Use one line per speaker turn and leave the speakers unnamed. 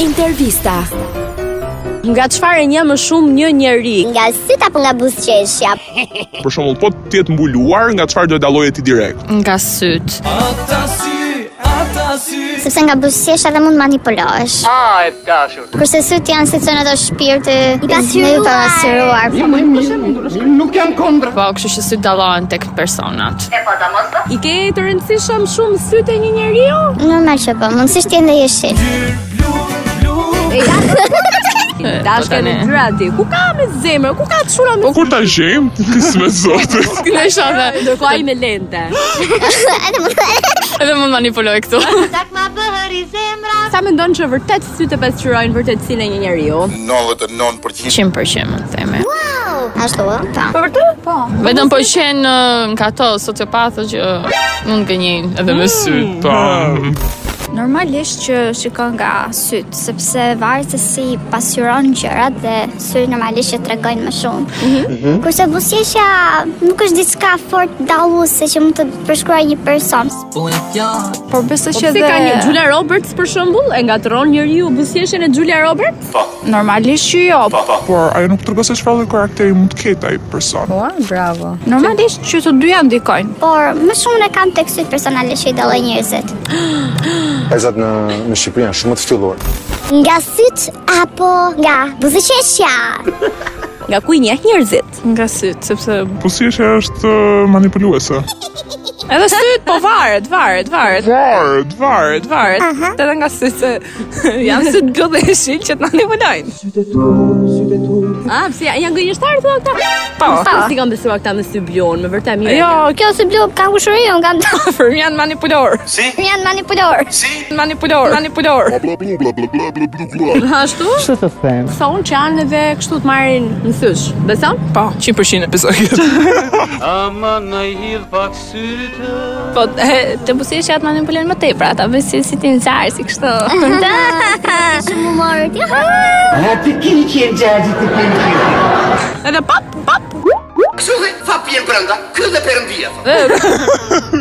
Intervista. Nga çfarë një më shumë një njeri?
Nga syt apo nga buzëqeshja?
Për shembull, po të jetë mbuluar, nga çfarë do të dalloje ti direkt?
Nga syt.
Sepse nga buzëqeshja dhe mund manipulohesh.
Ah, e dashur.
Kurse syt janë si çon ato shpirti i
pasyruar.
pasyruar.
Nuk jam kondra.
Po, kështu që syt dallohen tek personat.
E po ta mos do.
I ke të rëndësishëm shumë sytë e një jo? njeriu?
Normal që po, mundësisht jende jeshil.
Dashka në dyra ti. Ku ka me zemër? Ku ka të shura me
Po kur ta gjejmë, kisme zotit.
Kënaqesha dhe
Ndërkohë ai me lente.
Edhe mund
edhe mund manipuloj këtu.
Sa mendon që vërtet sytë e pasqyrojnë vërtetësinë e një jo? njeriu?
99%
100% më theme.
Ashtu, ë? po.
Vetëm po qenë ë, nga ato sociopatë që mund gënjejnë edhe me syt.
Pa.
Normalisht që shikon nga syt, sepse varet se si pasqyron gjërat dhe syri normalisht që tregojnë më shumë.
Kurse buzëqeshja nuk është diçka fort dalluese që mund të përshkruaj një person.
Por besoj
Po
që
pse
dhe
ka një Julia Roberts për shembull, e ngatron njeriu buzëqeshjen e Julia Roberts?
normalisht që jo.
Por ajo nuk tregon se çfarë lloj karakteri mund të ketë ai person.
Normalisht që të dyja ndikojnë.
Por më shumë e kam tek syt personale që i dalloj njerëzit.
Vajzat në në Shqipëri janë shumë të ftylluar.
Nga syt apo nga buzëqeshja?
Nga ku i njeh njerëzit?
Nga syt, sepse
Po si është është ë, manipuluese?
edhe syt po varet, varet, varet.
Varet, varet.
Varet, varet. Edhe nga syt se janë syt gjodhe e shil që të manipulojnë.
Ah, pse janë gënjeshtar thua këta?
Po.
Po si kanë besuar këta me Sybion, me vërtet mirë.
Jo,
Kjo si blu ka ushuri, unë kam dalë.
kafër janë manipulor.
Janë manipulor.
Manipulor, manipulor.
Ashtu? Ç'të të them? Thonë që janë edhe kështu të marrin në sysh. Beson?
Po, 100% e besoj këtë.
Ama në hidh pak sytë.
Po të buzëqeshja atë manipulojnë më tepër, ata besoj si ti nxar si kështu.
Shumë humor.
A ti kiki e gjazi të kiki.
Edhe pap, pap.
Kështu dhe fa pjen brenda, kështu dhe perëndia.